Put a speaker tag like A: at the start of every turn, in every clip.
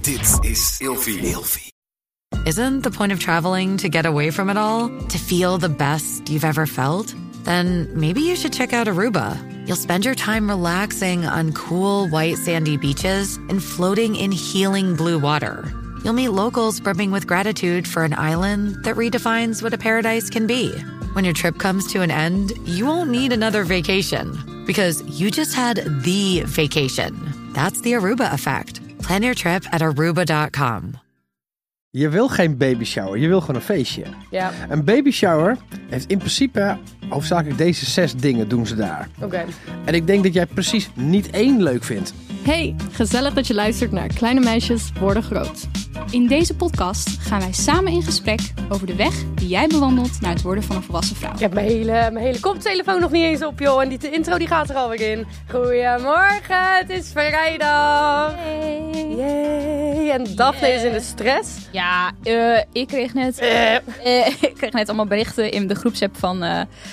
A: Dit is Ilfie.
B: Isn't the point of traveling to get away from it all? To feel the best you've ever felt? Then maybe you should check out Aruba. You'll spend your time relaxing on cool, white, sandy beaches and floating in healing blue water. You'll meet locals brimming with gratitude for an island that redefines what a paradise can be. When your trip comes to an end, you won't need another vacation because you just had the vacation. That's the Aruba effect. Plan your trip at aruba.com.
C: Je wil geen baby shower, je wil gewoon een feestje.
D: Ja,
C: Een baby shower heeft in principe hoofdzakelijk deze zes dingen doen ze daar.
D: oké.
C: En ik denk dat jij precies niet één leuk vindt.
D: Hey, gezellig dat je luistert naar Kleine Meisjes Worden Groot.
E: In deze podcast gaan wij samen in gesprek over de weg die jij bewandelt naar het worden van een volwassen vrouw.
D: Ik heb mijn hele, mijn hele koptelefoon nog niet eens op, joh. En die te- intro die gaat er alweer in. Goedemorgen, het is vrijdag. Yay. En Daphne is in de stress.
E: Ja, eh, ik, kreeg net,
D: Eh,
E: eh, ik kreeg net allemaal berichten in de groepsapp van eh,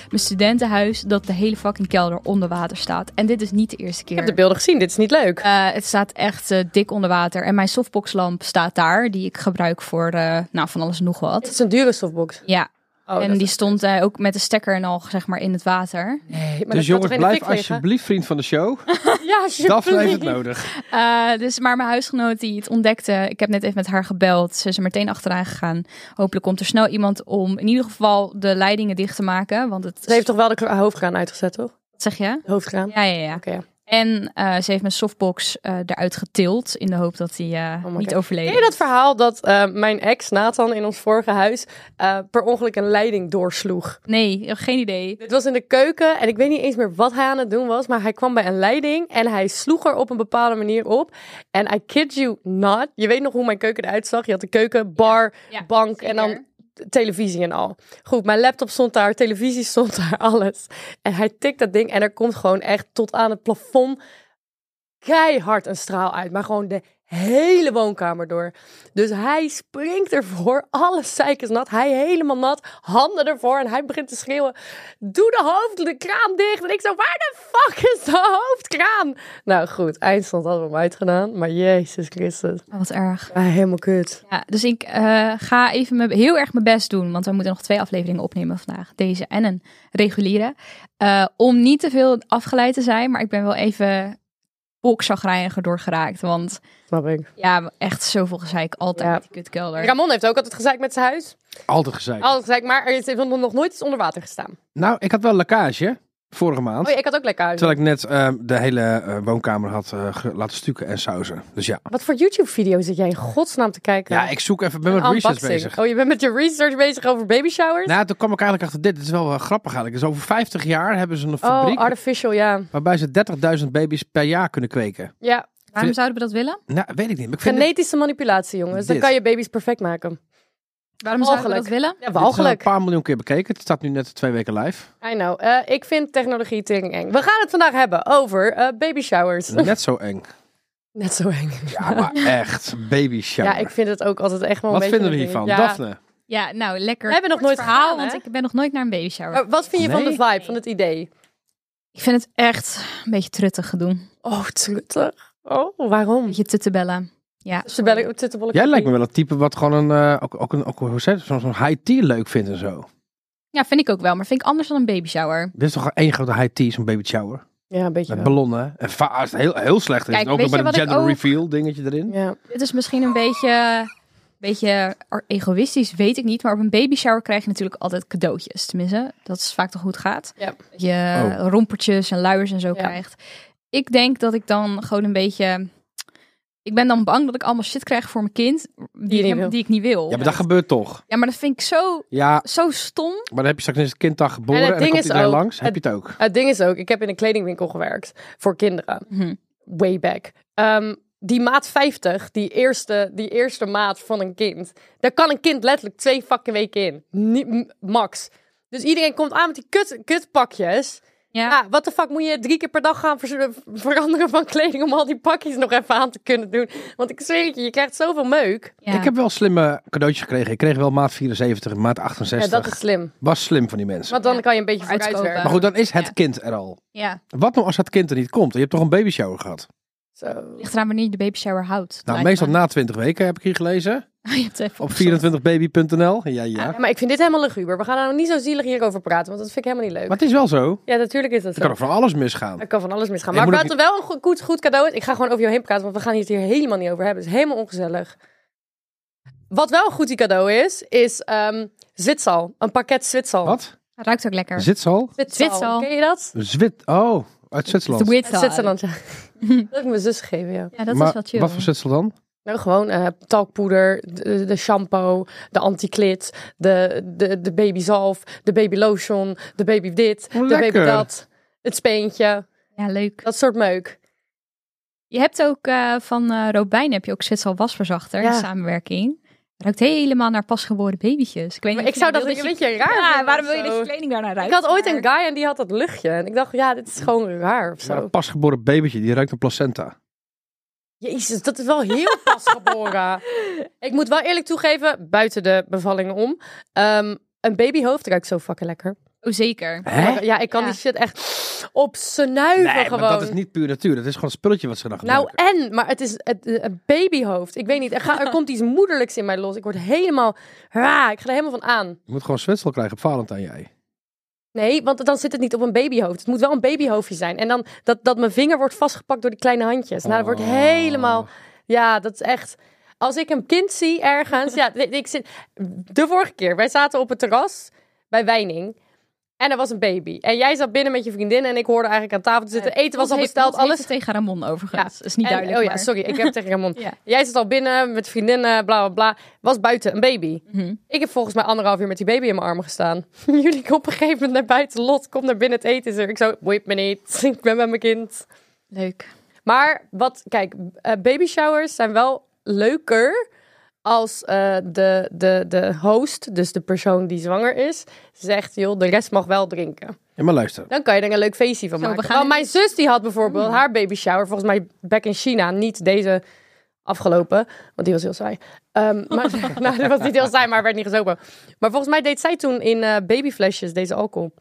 E: mijn studentenhuis dat de hele fucking kelder onder water staat. En dit is niet de eerste
D: ik heb
E: keer.
D: de beelden gezien, dit is niet leuk.
E: Eh, het staat echt eh, dik onder water. En mijn softboxlamp staat daar, die ik gebruik voor eh, nou, van alles en nog
D: Het
E: wat.
D: is een dure softbox.
E: Ja,
D: Oh, dat
E: en
D: is-
E: die stond eh, ook met de stekker en al zeg maar in het water.
D: Nee, maar
C: dus
D: dat
C: jongens,
D: gaat toch in de
C: blijf
D: fik liggen?
C: alsjeblieft vriend van de show.
D: Ja,
C: Daphne heeft
D: alsjeblieft.
C: het nodig.
E: Eh, dus, maar mijn huisgenoot die het ontdekte, ik heb net even met haar gebeld. Ze is er meteen achteraan gegaan. Hopelijk komt er snel iemand om in ieder geval de leidingen dicht te maken. Want het
D: Ze heeft toch wel de kra- hoofdkraan uitgezet, toch?
E: Wat zeg je?
D: De hoofdkraan.
E: Ja, ja, ja.
D: Oké, ja.
E: En eh, ze heeft mijn softbox eh, eruit getild in de hoop dat hij eh,
D: Oh my
E: niet
D: God.
E: overleed.
D: Ken je dat verhaal dat eh, mijn ex Nathan in ons vorige huis eh, per ongeluk een leiding doorsloeg?
E: Nee, geen idee.
D: Dit was in de keuken en ik weet niet eens meer wat hij aan het doen was, maar hij kwam bij een leiding en hij sloeg er op een bepaalde manier op. En I kid you not, je weet nog hoe mijn keuken eruit zag. Je had de keuken, bar,
E: Ja,
D: bank
E: zeker.
D: en dan televisie en al. Goed, mijn laptop stond daar, televisie stond daar, alles. En hij tikt dat ding en er komt gewoon echt tot aan het plafond keihard een straal uit, maar gewoon de hele woonkamer door. Dus hij springt ervoor, alles zeik is nat, hij helemaal nat, handen ervoor en hij begint te schreeuwen: "Doe de hoofd, de kraan dicht!" En ik zo: "Waar de fuck is de hoofdkraan?" Nou goed, eindstand hadden we hem uitgedaan, maar Jezus Christus,
E: Oh, wat erg.
D: ah, helemaal kut.
E: Ja, dus ik eh, ga even mijn- heel erg mijn best doen. Want we moeten nog twee afleveringen opnemen vandaag. Deze en een reguliere. Eh, om niet te veel afgeleid te zijn. Maar ik ben wel even okzagrijniger doorgeraakt. Want
D: Snap ik.
E: ja, echt zoveel gezeik altijd
D: Ja.
E: met die kutkelder.
D: Ramon heeft ook altijd gezeik met zijn huis.
C: Altijd gezegd.
D: Altijd gezeik, maar er is er nog nooit iets onder water gestaan.
C: Nou, ik had wel lekage vorige maand.
D: Oh ja, ik had ook lekker huis.
C: Terwijl ik net eh, de hele eh, woonkamer had eh, ge- laten stukken en sauzen. Dus ja.
D: Wat voor YouTube-video zit jij in godsnaam te kijken?
C: Ja, ik zoek even, ben met research
D: Unboxing.
C: bezig.
D: Oh, je bent met je research bezig over baby showers?
C: Nou, toen kwam ik eigenlijk achter dit. Dit is wel eh, grappig eigenlijk. Dus over 50 jaar hebben ze een fabriek
D: oh, artificial, ja.
C: waarbij ze 30.000 baby's per jaar kunnen kweken.
D: Ja,
E: Waarom zouden we dat willen?
C: Nou, weet ik niet. Maar ik vind dit-
D: genetische manipulatie, jongens. Dan
C: Dit.
D: kan je baby's perfect maken.
E: Waarom zouden we dat
D: Walgelijk.
E: willen?
D: Ja,
C: Dit is al
D: walgelijk.
C: een paar miljoen keer bekeken. Het staat nu net twee weken live.
D: I know. Eh, ik vind technologie tering eng. We gaan het vandaag hebben over eh, baby showers.
C: Net zo eng.
D: Net zo eng.
C: Ja, maar echt. Baby shower.
D: Ja, ik vind het ook altijd echt wel een
C: Wat
D: beetje
C: vinden we
D: een
C: hiervan?
D: ding. Ja.
C: Daphne?
E: Ja, nou lekker.
D: We hebben nog
E: kort
D: nooit
E: verhaal,
D: gedaan, hè?
E: want ik ben nog nooit naar een baby shower.
D: Eh, wat vind je van
C: Nee?
D: de vibe, van het idee?
E: Ik vind het echt een beetje truttig gedoe. Een
D: Oh, truttig. Oh, waarom?
E: beetje tuttebellen. Ja.
D: Ze bellen op Twitterbolletje.
C: Jij lijkt me wel het type wat gewoon een, eh, ook, ook een, ook een hoe zeg je het, zo'n zo'n high tea leuk vindt en zo.
E: ja, vind ik ook wel. Maar vind ik anders dan een baby shower.
C: Dit is toch één grote high tea, zo'n baby shower.
D: Ja, een beetje.
C: Met
D: wel.
C: ballonnen. En va- als het heel, heel slecht is.
E: Kijk,
C: en ook
E: weet
C: nog
E: je
C: met een
E: wat ik
C: gender
E: ook-
C: reveal dingetje erin.
D: Ja.
E: Dit is misschien een beetje, beetje egoïstisch, weet ik niet. Maar op een baby shower krijg je natuurlijk altijd cadeautjes. Tenminste, dat is vaak toch hoe het gaat.
D: Ja.
E: Dat je
C: Oh.
E: rompertjes en luiers en zo
D: Ja.
E: krijgt. Ik denk dat ik dan gewoon een beetje... Ik ben dan bang dat ik allemaal shit krijg voor mijn kind die,
D: je
E: ik,
D: niet
E: hem-
D: wil.
E: die ik niet wil.
C: Ja, maar dat gebeurt toch.
E: Ja, maar dat vind ik zo,
C: Ja,
E: zo stom.
C: maar dan heb je straks eens het kinddag geboren
D: En
C: en,
D: het
C: dan
D: ding
C: komt
D: is
C: iedereen
D: ook-
C: langs. Heb
D: het-
C: je het ook?
D: Het ding is ook, ik heb in een kledingwinkel gewerkt voor kinderen.
E: Mhm.
D: Way back. Ehm, die maat 50, die eerste, die eerste maat van een kind. Daar kan een kind letterlijk twee fucking weken in. Niet, m- max. Dus iedereen komt aan met die kut, kutpakjes.
E: Ja.
D: Ja, wat de fuck moet je drie keer per dag gaan ver- veranderen van kleding... om al die pakjes nog even aan te kunnen doen? Want ik zweer het je, je krijgt zoveel meuk.
E: Ja.
C: Ik heb wel slimme cadeautjes gekregen. Ik kreeg wel maat 74 en maat 68.
D: Ja, dat is slim.
C: Was slim van die mensen.
D: Want dan kan je een beetje
E: Vooruitkopen.
D: vooruit werken.
C: Maar goed, dan is het
E: Ja.
C: kind er al.
E: ja.
C: Wat nou als dat kind er niet komt? Je hebt toch een babyshower gehad?
D: Zo.
E: Ligt eraan wanneer je de baby shower houdt.
C: Nou,
E: lijkt
C: meestal
E: me.
C: na 20 weken heb ik hier gelezen.
E: Je hebt even
C: Op 24baby.nl. Ja, ja.
D: Ja, maar ik vind dit helemaal luguber. We gaan daar nog niet zo zielig hierover praten, want dat vind ik helemaal niet leuk.
C: Maar het is wel zo.
D: Ja, natuurlijk is dat
C: Er
D: zo.
C: kan ook van alles misgaan.
D: Er kan van alles misgaan.
C: Je
D: Maar
C: moet
D: wat
C: ook
D: wel een go- goed, goed cadeau is, ik ga gewoon over jou heen praten, want we gaan het hier helemaal niet over hebben. Het is helemaal ongezellig. Wat wel een goed cadeau is, is ehm zwitsal. Een pakket zwitsal.
C: Wat?
E: Ruikt ook lekker.
C: Zwitsal?
D: Zwitsal.
E: Zwitsal.
D: Ken je dat?
C: Zwit. Oh, uit Zwitserland.
E: Uit
D: Uit Zwitserland, ja. dat heb ik mijn zus gegeven, ja.
E: Ja, dat
C: maar
E: is wel chill.
C: Wat voor Zwitsel dan?
D: Nou, gewoon eh, talkpoeder, de, de shampoo, de anticlit, de, de, de babyzalf, de babylotion, de baby dit,
C: Hoe
D: de baby
C: lekker.
D: dat, het speentje,
E: Ja, leuk.
D: dat soort meuk.
E: Je hebt ook eh, van eh Robijn heb je ook Zwitserland wasverzachter
D: Ja.
E: in samenwerking. Ruikt helemaal naar pasgeboren babytjes. Ik weet
D: Maar
E: niet
D: ik
E: of
D: zou
E: je
D: dat
E: wil
D: een beetje raar vinden
E: Ja,
D: of
E: waarom wil je
D: zo.
E: dat je kleding daarna
D: Ik
E: ruikt?
D: had ooit
E: Maar-
D: een guy en die had dat luchtje. En ik dacht, ja, dit is gewoon raar of
C: Maar
D: zo.
C: een pasgeboren babytje, die ruikt een placenta.
D: Jezus, dat is wel heel pasgeboren. ik moet wel eerlijk toegeven, buiten de bevallingen om. ehm, een babyhoofd ruikt zo fucking lekker.
E: Oh, zeker.
C: Hè?
D: Ja, ik kan
E: Ja.
D: die shit echt op snuiven
C: Nee,
D: gewoon.
C: maar dat is niet puur natuur. Dat is gewoon een spulletje wat ze dan
D: Nou,
C: gebruiken.
D: en, maar het is het, eh, een babyhoofd. Ik weet niet, er, ga- er komt iets moederlijks in mij los. Ik word helemaal, ra, ik ga er helemaal van aan.
C: Je moet gewoon Zwitsel krijgen op Valentijn, jij.
D: Nee, want dan zit het niet op een babyhoofd. Het moet wel een babyhoofdje zijn. En dan dat, dat mijn vinger wordt vastgepakt door die kleine handjes. Nou, dat wordt
C: Oh.
D: helemaal, ja, dat is echt... Als ik een kind zie ergens, ja, ik ik zit... De vorige keer, wij zaten op het terras bij Weining... En er was een baby. En jij zat binnen met je vriendin en ik hoorde eigenlijk aan tafel te zitten. Eten was al
E: Hans heeft-
D: besteld,
E: Hans heeft
D: alles
E: het tegen Ramon overigens.
D: Ja.
E: Is niet
D: En-
E: duidelijk.
D: Oh ja,
E: maar-
D: sorry, ik heb tegen Ramon.
E: Ja.
D: Jij zit al binnen met vriendinnen, bla bla bla. Was buiten een baby.
E: Mhm.
D: Ik heb volgens mij anderhalf uur met die baby in mijn armen gestaan. Jullie komen op een gegeven moment naar buiten. Lot, kom naar binnen, het eten is er. Ik zo, boeit me niet. Ik ben met mijn kind.
E: Leuk.
D: Maar wat, kijk, eh, baby showers zijn wel leuker als eh, de, de, de host, dus de persoon die zwanger is, zegt, joh, de rest mag wel drinken.
C: Ja, maar luister.
D: Dan kan je er een leuk feestje van
E: Zo, we
D: maken.
E: gaan Mm.
D: Want mijn zus die had bijvoorbeeld haar baby shower, volgens mij back in China, niet deze afgelopen, want die was heel saai. Ehm, maar, nou, dat was niet heel saai, maar werd niet gezopen. Maar volgens mij deed zij toen in eh, babyflesjes deze alcohol.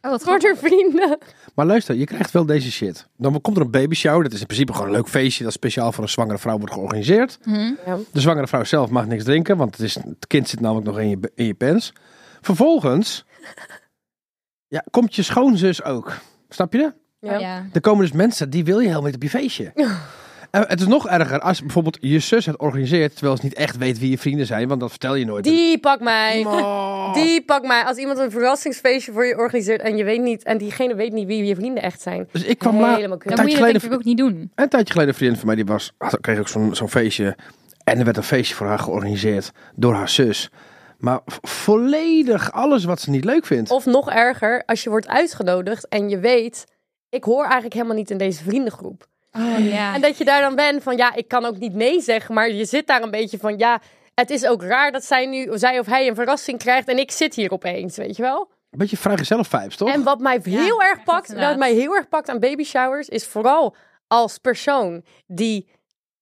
E: Oh, wat
D: Voor haar vrienden.
C: Maar luister, je krijgt wel deze shit. Dan komt er een baby shower. Dat is in principe gewoon een leuk feestje dat speciaal voor een zwangere vrouw wordt georganiseerd.
D: Ja.
C: De zwangere vrouw zelf mag niks drinken, want het, is, het kind zit namelijk nog in je, in je pens. Vervolgens ja, komt je schoonzus ook. Snap je?
E: Oh, Ja.
D: Ja.
C: Er komen dus mensen, die wil je helemaal niet op je feestje. En het is nog erger als bijvoorbeeld je zus het organiseert, terwijl ze niet echt weet wie je vrienden zijn, want dat vertel je nooit.
D: Die pak mij.
C: Oh.
D: Die pak mij. Als iemand een verrassingsfeestje voor je organiseert en je weet niet, en diegene weet niet wie je vrienden echt zijn.
C: Dus ik kwam la-
D: Helemaal kut.
C: een,
E: Dan moet
C: tijdje
E: je dat
C: geleden,
E: denk ik ook niet doen.
C: een tijdje geleden een vriend van mij die was, had, kreeg ook zo'n zo'n feestje. En er werd een feestje voor haar georganiseerd door haar zus. Maar vo- volledig alles wat ze niet leuk vindt.
D: Of nog erger, als je wordt uitgenodigd en je weet, ik hoor eigenlijk helemaal niet in deze vriendengroep.
E: Oh ja.
D: En dat je daar dan bent van ja, ik kan ook niet nee zeggen, maar je zit daar een beetje van ja, het is ook raar dat zij nu, zij of hij een verrassing krijgt en ik zit hier opeens, weet je wel?
C: Een beetje vrijgezellig vibes, toch?
D: En wat mij heel erg pakt, wat
E: inderdaad.
D: mij heel erg pakt aan baby showers is vooral als persoon die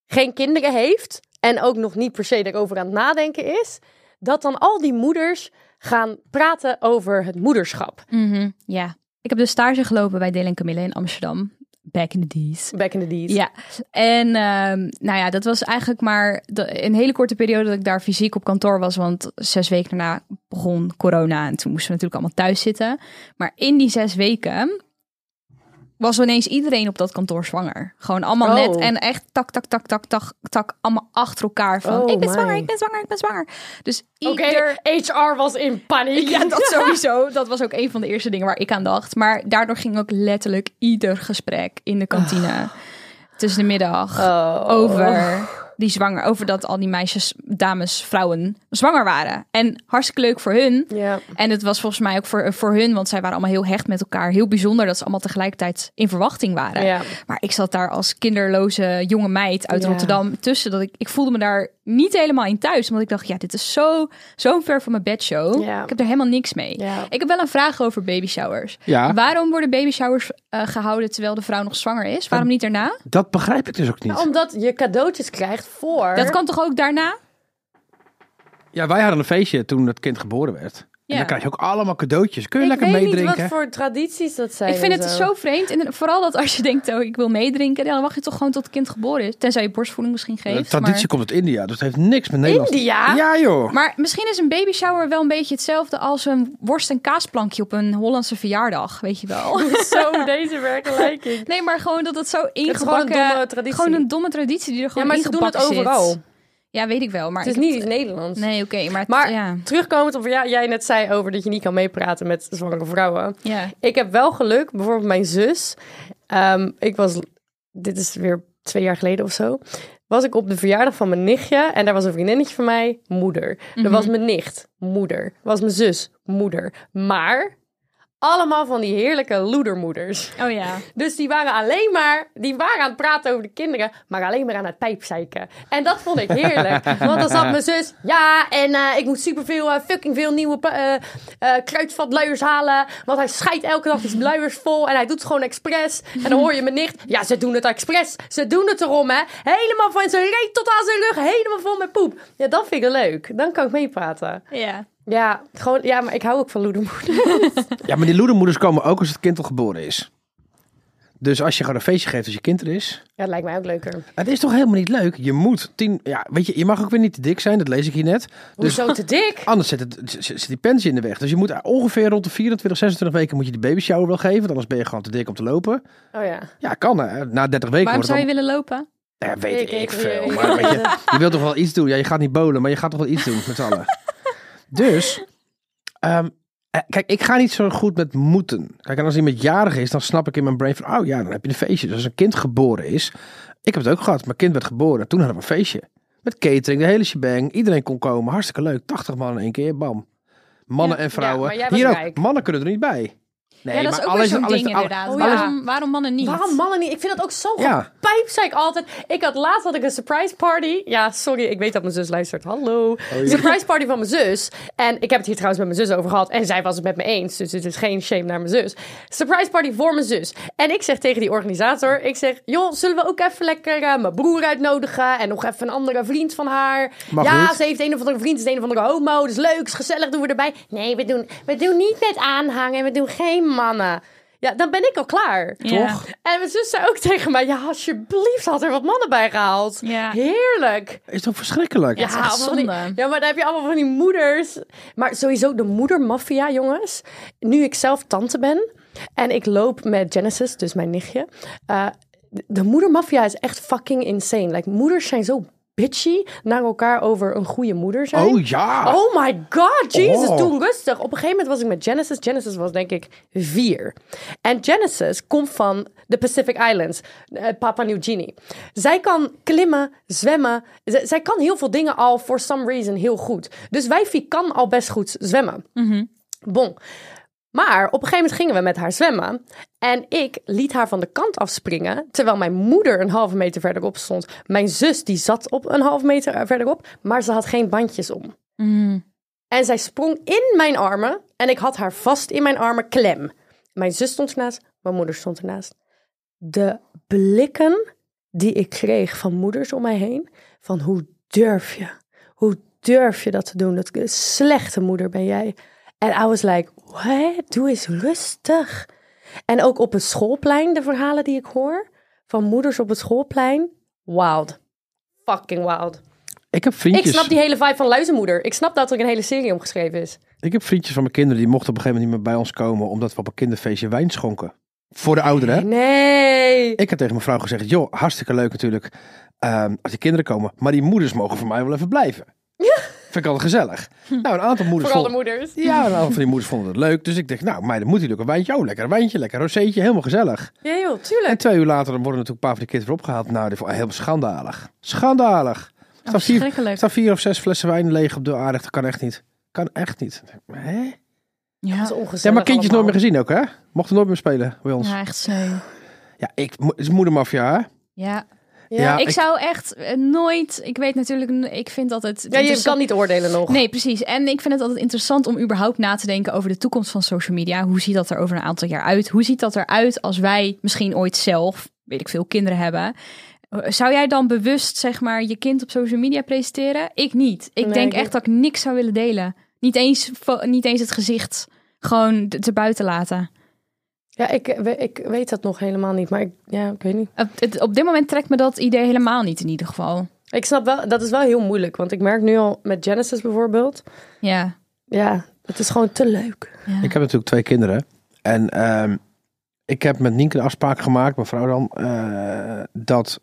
D: geen kinderen heeft en ook nog niet per se daarover aan het nadenken is, dat dan al die moeders gaan praten over het moederschap.
E: Mhm, Ja. Ik heb dus stage gelopen bij Deel en Camille in Amsterdam. Back in the days.
D: Back in the days.
E: Ja, en ehm, nou ja, dat was eigenlijk maar de- een hele korte periode dat ik daar fysiek op kantoor was. Want zes weken daarna begon corona en toen moesten we natuurlijk allemaal thuis zitten. Maar in die zes weken was ineens iedereen op dat kantoor zwanger. Gewoon allemaal
D: Oh.
E: net en echt tak, tak, tak, tak, tak, tak, allemaal achter elkaar van
D: Oh
E: ik ben
D: my.
E: zwanger, ik ben zwanger, ik ben zwanger. Dus
D: Oké,
E: ieder...
D: HR was in paniek.
E: Ja, dat sowieso. Dat was ook een van de eerste dingen waar ik aan dacht. Maar daardoor ging ook letterlijk ieder gesprek in de kantine.
D: Ah.
E: Tussen de middag.
D: Oh.
E: Over die zwanger. Over dat al die meisjes, dames, vrouwen zwanger waren. En hartstikke leuk voor hun.
D: Ja.
E: En het was volgens mij ook voor, voor hun, want zij waren allemaal heel hecht met elkaar. Heel bijzonder dat ze allemaal tegelijkertijd in verwachting waren.
D: Ja.
E: Maar ik zat daar als kinderloze jonge meid uit
D: Ja.
E: Rotterdam tussen. Dat ik, ik voelde me daar niet helemaal in thuis. Want ik dacht, ja, dit is zo, zo ver van mijn bedshow.
D: Ja.
E: Ik heb er helemaal niks mee.
D: Ja.
E: Ik heb wel een vraag over baby showers.
C: Ja.
E: Waarom worden baby showers eh, gehouden terwijl de vrouw nog zwanger is? Waarom niet daarna?
C: Dat begrijp ik dus ook niet.
D: Omdat je cadeautjes krijgt voor...
E: Dat kan toch ook daarna?
C: Ja, wij hadden een feestje toen het kind geboren werd.
E: Ja.
C: En dan krijg je ook allemaal cadeautjes. Kun je
D: ik
C: lekker
D: weet
C: meedrinken.
D: niet wat voor tradities dat zijn.
E: Ik vind
D: en
E: het zo vreemd. En vooral dat als je denkt, oh, ik wil meedrinken. ja, Dan mag je toch gewoon tot het kind geboren is. Tenzij je borstvoeding misschien
C: De
E: geeft.
C: Eh, traditie komt uit India, dus het heeft niks met Nederland.
D: India?
C: Ja, joh.
E: Maar, maar misschien is een baby shower wel een beetje hetzelfde als een worst- en kaasplankje op een Hollandse verjaardag. Weet je wel.
D: Zo, deze vergelijking.
E: Nee, maar gewoon dat het zo
D: is gewoon een
E: ingebakken...
D: domme traditie.
E: Gewoon een domme traditie die er
D: Ja,
E: gewoon
D: maar ze doen het
E: ingebakken
D: overal.
E: zit. Ja, weet ik wel. Maar
D: Het is
E: ik
D: niet
E: heb-
D: iets Nederlands.
E: Nee, oké. maar het-
D: Maar
E: ja.
D: terugkomend op wat jij- jij net zei over dat je niet kan meepraten met zwangere vrouwen.
E: ja.
D: Ik heb wel geluk, bijvoorbeeld mijn zus. ehm, ik was, dit is weer twee jaar geleden of zo. Was ik op de verjaardag van mijn nichtje en daar was een vriendinnetje van mij, moeder.
E: Mhm.
D: Er was mijn nicht, moeder. Was mijn zus, moeder. Maar allemaal van die heerlijke loedermoeders.
E: Oh ja.
D: Dus die waren alleen maar, die waren aan het praten over de kinderen, maar alleen maar aan het pijpzeiken. En dat vond ik heerlijk. Want dan zat mijn zus, ja, en eh, ik moet superveel, eh, fucking veel nieuwe eh eh, kruidvatluiers halen. Want hij scheidt elke dag die luiers vol en hij doet het gewoon expres. En dan hoor je mijn nicht, ja, ze doen het expres. Ze doen het erom, hè. Helemaal van zijn reet tot aan zijn rug, helemaal vol met poep. Ja, dat vind ik leuk. Dan kan ik meepraten.
E: Ja.
D: Ja, gewoon, ja, maar ik hou ook van loedermoeder.
C: Ja, maar die loedermoeders komen ook als het kind al geboren is. Dus als je gewoon een feestje geeft als je kind er is.
D: Ja, dat lijkt mij ook leuker.
C: Het is toch helemaal niet leuk? Je moet tien... Ja, weet je, je mag ook weer niet te dik zijn. Dat lees ik hier net. Dus
D: Hoezo te dik?
C: Anders zit, het, zit- zit die pensie in de weg. Dus je moet ongeveer rond de 24, 26 weken moet je die baby shower wel geven. want Anders ben je gewoon te dik om te lopen.
D: Oh ja.
C: Ja, kan hè. Na 30 weken
E: Waarom
C: wordt
E: zou je
C: het
E: willen lopen?
C: dan... Nou Ja, weet
D: Ik-
C: ik,
D: ik-
C: veel.
D: ik-
C: Maar weet je, je wilt toch wel iets doen. Ja, je gaat niet bolen, maar je gaat toch wel iets doen met z'n allen. Dus, ehm, eh, kijk, ik ga niet zo goed met moeten. Kijk, en als iemand jarig is, dan snap ik in mijn brain van... Oh ja, dan heb je een feestje. Dus als een kind geboren is... Ik heb het ook gehad. Mijn kind werd geboren. Toen hadden we een feestje. Met catering, de hele shebang. Iedereen kon komen. Hartstikke leuk. 80 man in één keer. Bam. Mannen en
D: Ja,
C: vrouwen.
D: maar jij was
C: Hier ook.
D: rijk.
C: Mannen kunnen er niet bij. Nee,
E: ja, dat is ook weer zo'n ding inderdaad.
D: alles-
E: waarom, waarom mannen niet?
D: Waarom mannen niet? Ik vind dat ook zo
C: Ja.
D: ja. pijp, zei ik altijd. Ik had laatst had ik een surprise party. Ja, sorry, ik weet dat mijn zus luistert. Hallo.
C: Oh,
D: Surprise party van mijn zus. En ik heb het hier trouwens met mijn zus over gehad. En zij was het met me eens. Dus het is geen shame naar mijn zus. Surprise party voor mijn zus. En ik zeg tegen die organisator, ik zeg, joh, zullen we ook even lekker eh, mijn broer uitnodigen? En nog even een andere vriend van haar.
C: Mag
D: ja,
C: niet.
D: ze heeft een of andere vriend, is een of andere homo. Dus leuk, is gezellig, doen we erbij. Nee, we doen, we doen niet met aanhangen. We doen geen mannen. Ja, dan ben ik al klaar.
E: Ja.
C: Toch?
D: En mijn zus zei ook tegen mij: Ja, alsjeblieft, had er wat mannen bij gehaald.
E: Ja.
D: Heerlijk.
C: Is toch verschrikkelijk?
E: is echt
D: allemaal van die-
E: zonde.
D: ja, maar dan heb je allemaal van die moeders. Maar sowieso de moedermafia, jongens. Nu ik zelf tante ben en ik loop met Genesis, dus mijn nichtje. eh, de- de moedermafia is echt fucking insane. Like, moeders zijn zo bitchy naar elkaar over een goede moeder zijn.
C: Oh ja.
D: Oh my god, Jesus,
C: Oh.
D: doe rustig. Op een gegeven moment was ik met Genesis. Genesis was denk ik vier. En Genesis komt van de Pacific Islands, eh, Papua New Guinea. Zij kan klimmen, zwemmen. Z- zij kan heel veel dingen al, for some reason, heel goed. Dus Wijfie kan al best goed zwemmen. Bon. Maar op een gegeven moment gingen we met haar zwemmen. En ik liet haar van de kant afspringen. Terwijl mijn moeder een halve meter verderop stond. Mijn zus die zat op een halve meter eh, verderop. Maar ze had geen bandjes om. En zij sprong in mijn armen. En ik had haar vast in mijn armen klem. Mijn zus stond ernaast. Mijn moeder stond ernaast. De blikken die ik kreeg van moeders om mij heen. Van hoe durf je? Hoe durf je dat te doen? Dat slechte moeder ben jij. En I was like, what? Doe eens rustig. En ook op het schoolplein, de verhalen die ik hoor. Van moeders op het schoolplein. Wild. Fucking wild.
C: Ik heb
D: Ik
C: vriendjes.
D: snap die hele vibe van Luizenmoeder. Ik snap dat er een hele serie om geschreven is.
C: Ik heb vriendjes van mijn kinderen die mochten op een gegeven moment niet meer bij ons komen. omdat we op een kinderfeestje wijn schonken. Voor de ouderen. hè?
D: Nee.
C: Ik heb tegen mijn vrouw gezegd: joh, hartstikke leuk natuurlijk. ehm, als die kinderen komen. Maar die moeders mogen voor mij wel even blijven. Vind ik altijd gezellig. Nou, een aantal moeders.
D: Hm. Vooral de
C: vonden-
D: moeders.
C: Ja, een aantal van die moeders vonden het leuk. Dus ik dacht, nou, meiden, moet hij ook een wijntje? Oh, lekker een wijntje, lekker een rozeetje. Helemaal gezellig.
D: Ja joh,
C: En
D: tuurlijk.
C: twee uur later dan worden natuurlijk een paar van die kids weer opgehaald. Nou, die vond ik heel schandalig. Schandalig. Er staan vier,
E: verschrikkelijk.
C: er staan vier of zes flessen wijn leeg op de aardig. Dat kan echt niet. Kan echt niet. Hè?
E: Ja.
D: Dat is ongezellig
C: Ja, maar kindjes nooit
D: allemaal.
C: meer gezien ook, hè? Mochten nooit meer spelen bij ons. Ja,
E: Ja, echt sneu.
C: ik, mo- het is moedermafia, hè?
E: Ja.
D: Ja,
E: ik, zou echt eh, nooit... Ik weet natuurlijk... n- Ik vind dus altijd...
D: Ja, je kan niet oordelen nog.
E: Nee, precies. En ik vind het altijd interessant om überhaupt na te denken over de toekomst van social media. Hoe ziet dat er over een aantal jaar uit? Hoe ziet dat eruit als wij misschien ooit zelf, weet ik veel, kinderen hebben? Zou jij dan bewust, zeg maar, je kind op social media presenteren? Ik niet. Ik
D: Nee,
E: denk
D: ik-
E: echt dat ik niks zou willen delen. Niet eens, fo- niet eens het gezicht. Gewoon d- erbuiten laten.
D: Ja, ik, eh, we- ik weet dat nog helemaal niet, maar ik, ja, ik weet niet.
E: Op, het- op dit moment trekt me dat idee helemaal niet in ieder geval.
D: Ik snap wel, dat is wel heel moeilijk, want ik merk nu al met Genesis bijvoorbeeld.
E: Ja.
D: Ja, het is gewoon te leuk.
E: ja.
C: Ik heb natuurlijk twee kinderen. En ehm, ik heb met Nienke een afspraak gemaakt, mijn vrouw dan, eh, dat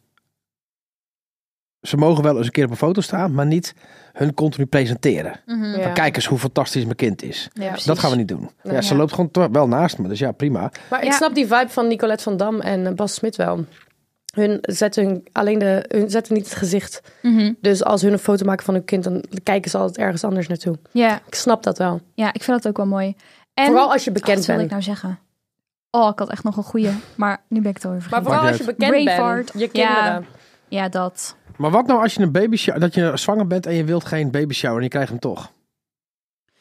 C: ze mogen wel eens een keer op een foto staan, maar niet hun continu presenteren.
E: Mhm.
D: Ja.
C: Kijk eens hoe fantastisch mijn kind is.
E: Ja, precies.
C: Dat gaan we niet doen. Ja,
D: Nee.
C: Ze loopt gewoon toch wel naast me, dus ja, prima.
D: Maar ik
E: Ja.
D: snap die vibe van Nicolette van Dam en eh, Bas Smit wel. Hun zetten, hun, alleen de, hun zetten niet het gezicht.
E: Mhm.
D: Dus als hun een foto maken van hun kind, dan kijken ze altijd ergens anders naartoe.
E: ja.
D: Ik snap dat wel.
E: ja, ik vind dat ook wel mooi. En...
D: vooral als je
E: Ach, wat
D: bekend
E: wilde
D: bent.
E: ik nou zeggen? Oh, ik had echt nog een goeie. Maar nu ben ik het alweer
D: Maar
E: vergeten.
D: vooral als
C: Maakt
D: je
C: niet
D: bekend
E: Braveheart.
D: bent, je
E: Ja.
D: kinderen.
E: Ja, dat.
C: Maar wat nou als je een baby shower, dat je zwanger bent en je wilt geen baby shower en je krijgt hem toch?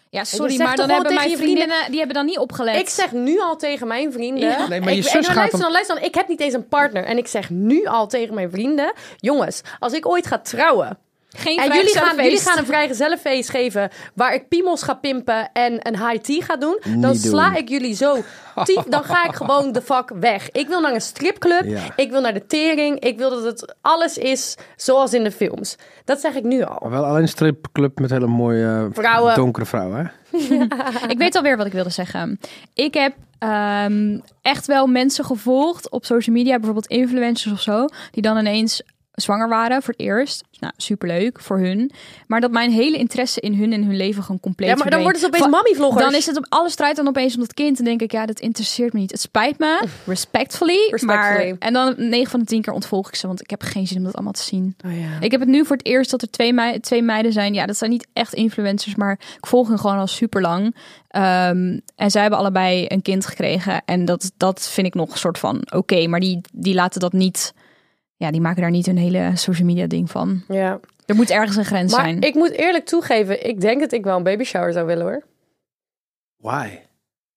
E: Ja,
D: Je
E: sorry,
D: zegt
E: maar
D: toch
E: dan
D: gewoon
E: hebben mijn
D: tegen je
E: vriendinnen... Die hebben dan niet opgelet.
D: Ik zeg nu al tegen mijn vrienden.
E: Ja.
C: Nee, maar je
D: ik, nou
C: zus
D: en dan
C: gaat
D: luister,
C: hem-
D: dan luister, dan, ik heb niet eens een partner. En ik zeg nu al tegen mijn vrienden: jongens, als ik ooit ga trouwen.
E: Geen
D: En
E: vrij
D: jullie gaan,
E: zelffeest.
D: jullie gaan een vrijgezellenfeest geven waar ik piemels ga pimpen en een high tea ga doen. Dan
C: Niet doen.
D: sla ik jullie zo tief, dan ga ik gewoon de vak weg. Ik wil naar een stripclub,
C: Ja.
D: ik wil naar de tering, ik wil dat het alles is zoals in de films. Dat zeg ik nu al.
C: Maar wel alleen een stripclub met hele mooie eh,
D: Vrouwen.
C: donkere vrouwen. Hè?
E: Ik weet alweer wat ik wilde zeggen. Ik heb ehm, echt wel mensen gevolgd op social media, bijvoorbeeld influencers of zo, die dan ineens zwanger waren voor het eerst. Nou, superleuk voor hun. Maar dat mijn hele interesse in hun en hun leven gewoon compleet
D: Ja, maar dan worden
E: verdween.
D: ze opeens
E: Va-
D: mammyvloggers.
E: Dan is het op alles draait dan opeens om dat kind. En denk ik, ja, dat interesseert me niet. Het spijt me. Respectfully.
D: Respectfully.
E: Maar, en dan 9 van de 10 keer ontvolg ik ze, want ik heb geen zin om dat allemaal te zien.
D: Oh ja.
E: Ik heb het nu voor het eerst dat er twee, mei- twee meiden zijn. Ja, dat zijn niet echt influencers, maar ik volg hen gewoon al super lang. en zij hebben allebei een kind gekregen. En dat, dat vind ik nog een soort van oké. maar die, die laten dat niet. Ja, die maken daar niet hun hele social media ding van.
D: Ja.
E: Er moet ergens een grens
D: Maar
E: zijn.
D: ik moet eerlijk toegeven, ik denk dat ik wel een baby shower zou willen hoor.
C: Why?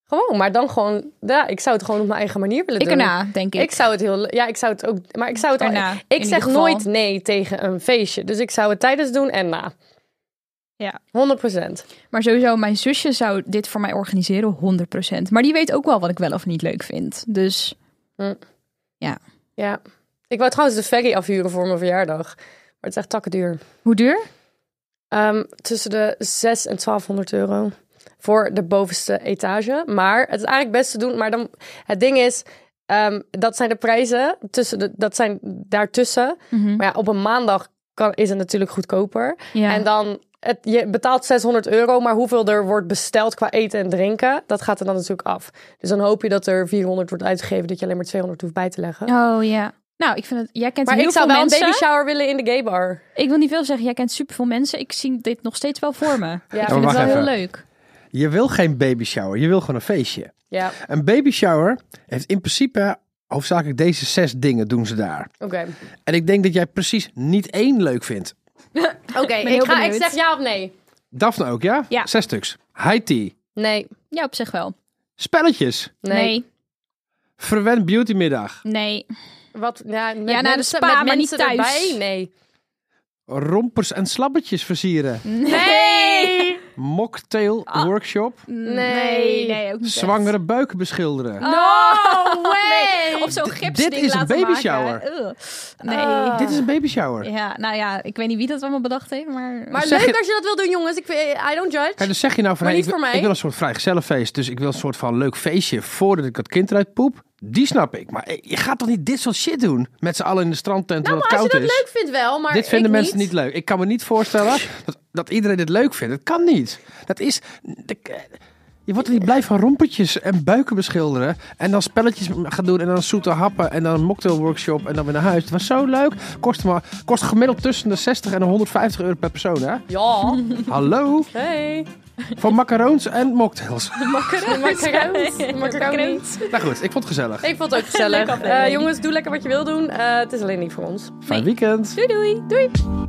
D: Gewoon, maar dan gewoon, ja, ik zou het gewoon op mijn eigen manier willen
E: ik
D: doen.
E: erna, denk ik.
D: Ik zou het heel, ja, ik zou het ook, maar ik zou het al-
E: Erna, in
D: Ik
E: ieder
D: zeg
E: geval.
D: nooit nee tegen een feestje. Dus ik zou het tijdens doen en na.
E: Ja.
D: 100 procent.
E: Maar sowieso, mijn zusje zou dit voor mij organiseren, 100%. Maar die weet ook wel wat ik wel of niet leuk vind. Dus
D: Hm. Ja. Ik wou trouwens de ferry afhuren voor mijn verjaardag. Maar het is echt takken duur.
E: hoe duur?
D: Ehm, tussen de 6 en 1200 euro voor de bovenste etage. Maar het is eigenlijk best te doen. Maar dan, het ding is, ehm, dat zijn de prijzen. Tussen de, dat zijn daartussen. Maar ja, op een maandag kan, is het natuurlijk goedkoper.
E: Mhm. Ja.
D: En dan, het, je betaalt 600 euro, maar hoeveel er wordt besteld qua eten en drinken, dat gaat er dan natuurlijk af. Dus dan hoop je dat er 400 wordt uitgegeven, dat je alleen maar 200 hoeft bij te leggen.
E: Oh ja. Nou, ik vind het. Jij kent
D: maar
E: heel
D: ik zou
E: veel
D: wel
E: mensen.
D: een baby shower willen in de gay bar.
E: Ik wil niet veel zeggen. Jij kent superveel mensen. Ik zie dit nog steeds wel voor me. Ja,
D: maar
E: ik vind het
C: wacht
E: wel heel
C: even.
E: leuk.
C: Je wil geen baby shower, je wil gewoon een feestje.
D: Ja,
C: Een baby shower heeft in principe hoofdzakelijk deze zes dingen doen ze daar.
D: oké.
C: En ik denk dat jij precies niet één leuk vindt.
D: Oké,
E: ben
D: ik,
E: heel
D: ga- ik
E: benieuwd.
D: zeg ja of nee.
C: Daphne ook, ja?
E: Ja.
C: Zes stuks. High tea.
D: Nee,
E: Ja, op zich wel.
C: Spelletjes.
D: nee.
C: Verwend beautymiddag.
E: Nee.
D: Wat, ja, met
E: naar de
D: mensen-
E: spa,
D: met
E: maar
D: mensen
E: niet thuis.
D: Erbij? Nee.
C: Rompers en slabbertjes versieren.
D: Nee.
C: Mocktail workshop.
E: Nee.
D: Nee.
E: nee, ook niet. echt.
C: Zwangere buiken beschilderen.
D: Oh.
E: No way! Of zo'n gipsding
C: dit is een
E: laten
C: baby
E: maken.
C: shower.
E: Ugh. Nee.
D: Ah.
C: Dit is een baby shower.
E: Ja, nou ja, ik weet niet wie dat allemaal bedacht heeft, maar...
D: Maar
C: Zeg
D: leuk
C: je-
D: als je dat wil doen, jongens. Ik, vind- I don't judge.
C: Kijk, dus zeg je nou van,
D: Maar
C: hey,
D: niet
C: ik, wil-
D: voor mij.
C: ik wil een soort vrijgezellenfeest, dus ik wil een soort van leuk feestje voordat ik dat kind eruit poep. Die snap ik. Maar eh, je gaat toch niet dit soort shit doen? Met z'n allen in de strandtent
D: nou,
C: terwijl
D: maar als je
C: het
D: dat
C: koud is.
D: leuk vindt wel, maar
C: dit vinden
D: ik
C: mensen niet. leuk. Ik kan me niet voorstellen dat, dat iedereen dit leuk vindt. Dat kan niet. Dat is... de- eh, je wordt er niet blij van rompertjes en buiken beschilderen. En dan spelletjes gaan doen en dan zoete happen en dan een mocktail workshop en dan weer naar huis. Het was zo leuk. Kost, maar, kost gemiddeld tussen de 60 en de 150 euro per persoon, hè?
D: Ja.
C: Hallo?
D: Hey.
C: Voor macarons en mocktails.
D: Macarons. Macaroni.
C: Nou goed, ik vond het gezellig.
D: Ik vond het ook gezellig. Eh, jongens, doe lekker wat je wil doen. Eh, het is alleen niet voor ons.
C: Fijn weekend.
E: Doei doei! Doei!